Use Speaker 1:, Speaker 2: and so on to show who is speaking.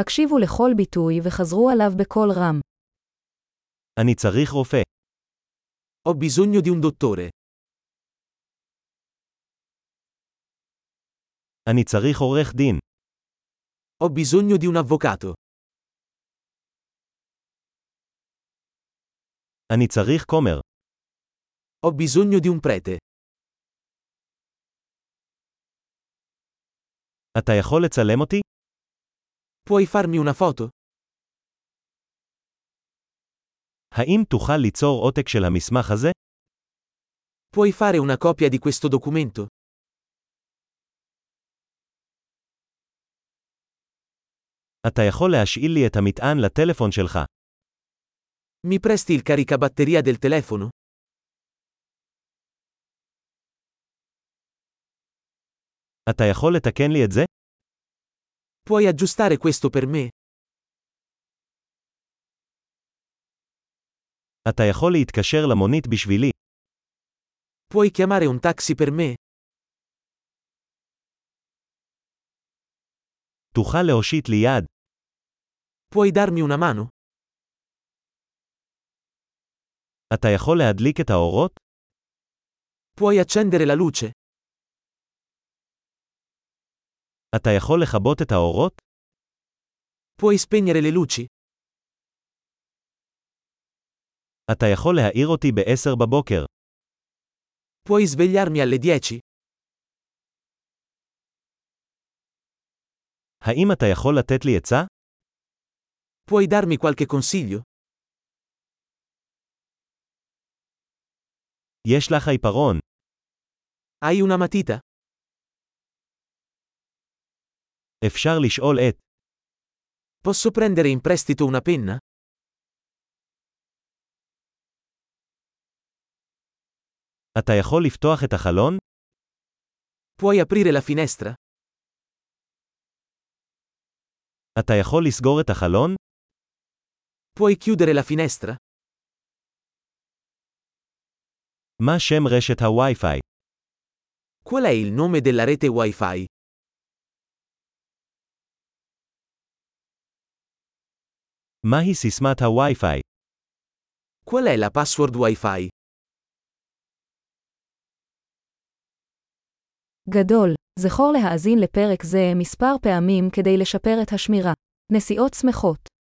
Speaker 1: הקשיבו לכל ביטוי וחזרו עליו בקול רם.
Speaker 2: אני צריך רופא.
Speaker 3: Ho bisogno di un dottore.
Speaker 2: אני צריך עורך דין.
Speaker 3: Ho bisogno di un avvocato.
Speaker 2: אני צריך כומר.
Speaker 3: Ho bisogno di un prete.
Speaker 2: אתה יכול לצלם אותי?
Speaker 3: Puoi farmi una foto?
Speaker 2: האם תוכל ליצור עותק של המסמך הזה?
Speaker 3: Puoi fare una copia di questo documento?
Speaker 2: אתה יכול להשאיל לי את המטען לטלפון שלך.
Speaker 3: Mi presti il caricabatteria del telefono?
Speaker 2: אתה יכול לתקן לי את זה?
Speaker 3: Puoi aggiustare questo per me?
Speaker 2: אתה יכול להתקשר למונית בשבילי.
Speaker 3: Puoi chiamare un taxi per me?
Speaker 2: תוכל להושיט לי יד.
Speaker 3: Puoi darmi una mano?
Speaker 2: אתה יכול להדליק את האורות?
Speaker 3: Puoi accendere la luce?
Speaker 2: אתה יכול לכבות את האורות?
Speaker 3: Puoi spegnere le luci?
Speaker 2: אתה יכול להעיר אותי ב-10 בבוקר.
Speaker 3: Puoi svegliarmi alle 10?
Speaker 2: האם אתה יכול לתת לי עצה?
Speaker 3: Puoi darmi qualche consiglio?
Speaker 2: יש לך עיפרון.
Speaker 3: Hai una matita?
Speaker 2: אפשר לשאול את.
Speaker 3: Posso prendere in prestito una penna?
Speaker 2: אתה יכול לפתוח את החלון?
Speaker 3: Puoi aprire la finestra?
Speaker 2: אתה יכול לסגור את החלון?
Speaker 3: Puoi chiudere la finestra?
Speaker 2: מה שם רשת הווי-פיי?
Speaker 3: Qual è il nome della rete Wi-Fi?
Speaker 2: מהי סיסמת הווי-פיי?
Speaker 3: Qual è la password Wi-Fi?
Speaker 1: גדול, זכור להאזין לפרק זה מספר פעמים כדי לשפר את השמירה. נסיעות שמחות